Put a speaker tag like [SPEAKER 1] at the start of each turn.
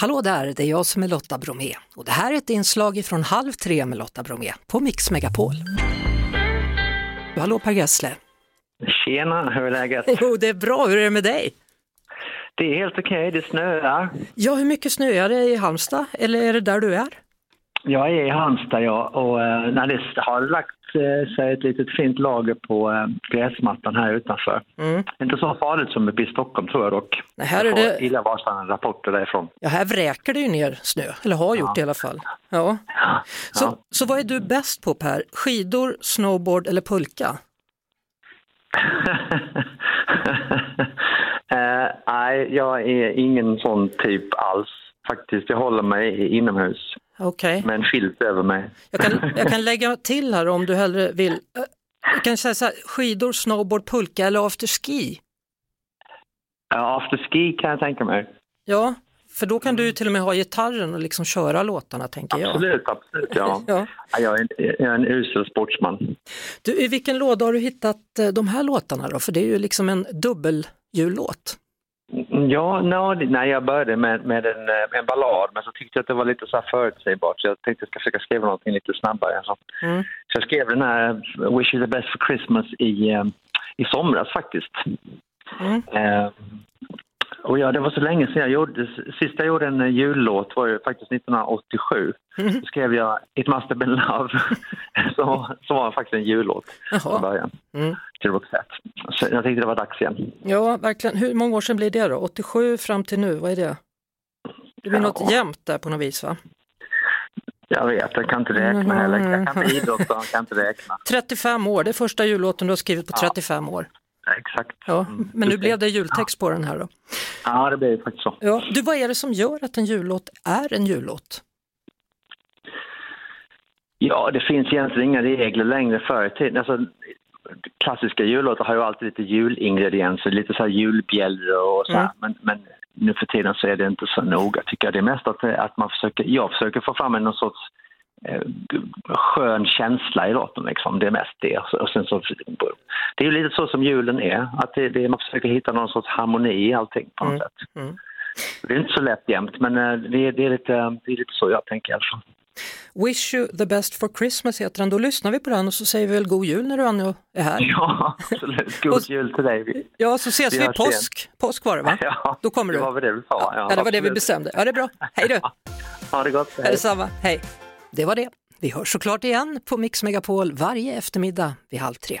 [SPEAKER 1] Hallå där, det är jag som är Lotta Bromé och det här är ett inslag från Halv tre med Lotta Bromé på Mix Megapol. Hallå Per Gessle.
[SPEAKER 2] Tjena, hur är läget?
[SPEAKER 1] Jo, det är bra. Hur är det med dig?
[SPEAKER 2] Det är helt okej, det snöar.
[SPEAKER 1] Ja, hur mycket snöar det i Halmstad eller är det där du är?
[SPEAKER 2] Jag är i Halmstad ja, och eh, när det har lagt eh, sig ett litet fint lager på eh, gräsmattan här utanför.
[SPEAKER 1] Mm.
[SPEAKER 2] Inte så farligt som det blir i Stockholm tror jag dock.
[SPEAKER 1] Nej, här är
[SPEAKER 2] Jag får
[SPEAKER 1] det-
[SPEAKER 2] Illavarslande rapporter därifrån.
[SPEAKER 1] Ja, här vräker det ju ner snö, eller har gjort det i alla fall. Ja. Så,
[SPEAKER 2] Ja.
[SPEAKER 1] så vad är du bäst på Per? Skidor, snowboard eller pulka?
[SPEAKER 2] Eh, Nej, jag är ingen sån typ alls faktiskt. Jag håller mig inomhus
[SPEAKER 1] Okej.
[SPEAKER 2] med en filt över mig.
[SPEAKER 1] Jag kan, jag kan lägga till här om du hellre vill. Eh, Jag kan säga så här, skidor, snowboard, pulka eller afterski.
[SPEAKER 2] Ja, Eh, Afterski kan jag tänka mig.
[SPEAKER 1] Ja, för då kan du ju till och med ha gitarren och liksom köra låtarna tänker jag.
[SPEAKER 2] Mm. Absolut, absolut. Ja.
[SPEAKER 1] Ja.
[SPEAKER 2] Ja, Jag är en, jag är en usel sportsman.
[SPEAKER 1] Du, I vilken låda har du hittat eh, de här låtarna då? För det är ju liksom en dubbeljullåt.
[SPEAKER 2] Ja, no, nej, jag började med, med en, eh, en ballad, men så tyckte jag att det var lite så här förutsägbart så jag tänkte jag ska försöka skriva någonting lite snabbare. Så,
[SPEAKER 1] Mm.
[SPEAKER 2] så jag skrev den här Wish you the best for Christmas i, eh, i somras faktiskt.
[SPEAKER 1] Mm.
[SPEAKER 2] Eh, och ja, det var så länge sedan jag gjorde, sist jag gjorde en eh, jullåt var ju faktiskt 1987.
[SPEAKER 1] Mm.
[SPEAKER 2] Då skrev jag It must have been love, som, var- som var faktiskt en jullåt från
[SPEAKER 1] Jaha.
[SPEAKER 2] början.
[SPEAKER 1] Mm.
[SPEAKER 2] Till Roxette. Så jag tänkte det var dags igen.
[SPEAKER 1] Ja, verkligen. Hur många år sedan blir det då? 87 fram till nu, vad är det? Det blir
[SPEAKER 2] Ja.
[SPEAKER 1] något jämnt där på något vis va?
[SPEAKER 2] Jag vet, jag kan inte räkna heller. Jag kan inte idrotta, jag kan inte räkna.
[SPEAKER 1] 35 år, det är första jullåten du har skrivit på 35 år.
[SPEAKER 2] Exakt.
[SPEAKER 1] Ja, men nu
[SPEAKER 2] Mm. precis.
[SPEAKER 1] blev det jultext på den här då.
[SPEAKER 2] Ja, det blir faktiskt så.
[SPEAKER 1] Ja, du, vad är det som gör att en jullåt är en jullåt?
[SPEAKER 2] Ja, det finns egentligen inga regler längre förr i tiden. Alltså, klassiska jullåtar har ju alltid lite julingredienser, lite så här julbjällror och så här.
[SPEAKER 1] Mm.
[SPEAKER 2] Men, men nu för tiden så är det inte så noga tycker jag. Det är mest att, det- att man försöker, jag försöker få fram en någon sorts eh, skön känsla i låten liksom. Det är mest det. Och sen så, det är ju lite så som julen är, att det, det, man försöker hitta någon sorts harmoni i allting på något
[SPEAKER 1] Mm.
[SPEAKER 2] sätt.
[SPEAKER 1] Mm.
[SPEAKER 2] Det är inte så lätt jämt, men eh, det, är- det, är lite, det är lite så jag tänker i alla fall.
[SPEAKER 1] Wish you the best for Christmas heter den, då lyssnar vi på den och så säger vi väl god jul när du ännu är här.
[SPEAKER 2] Ja, absolut. God jul till dig.
[SPEAKER 1] Ja, så ses
[SPEAKER 2] Vi
[SPEAKER 1] vi
[SPEAKER 2] hörs
[SPEAKER 1] påsk. Påsk var det va?
[SPEAKER 2] Ja,
[SPEAKER 1] Då kommer
[SPEAKER 2] det
[SPEAKER 1] du.
[SPEAKER 2] var väl det vi sa.
[SPEAKER 1] Ja,
[SPEAKER 2] Ja,
[SPEAKER 1] ja, det var det vi
[SPEAKER 2] absolut.
[SPEAKER 1] bestämde. Ja, det är bra. Hej du!
[SPEAKER 2] Ha det gott.
[SPEAKER 1] Hej. Detsamma, hej! Det var det. Vi hörs såklart igen på Mix Megapol varje eftermiddag vid halv tre.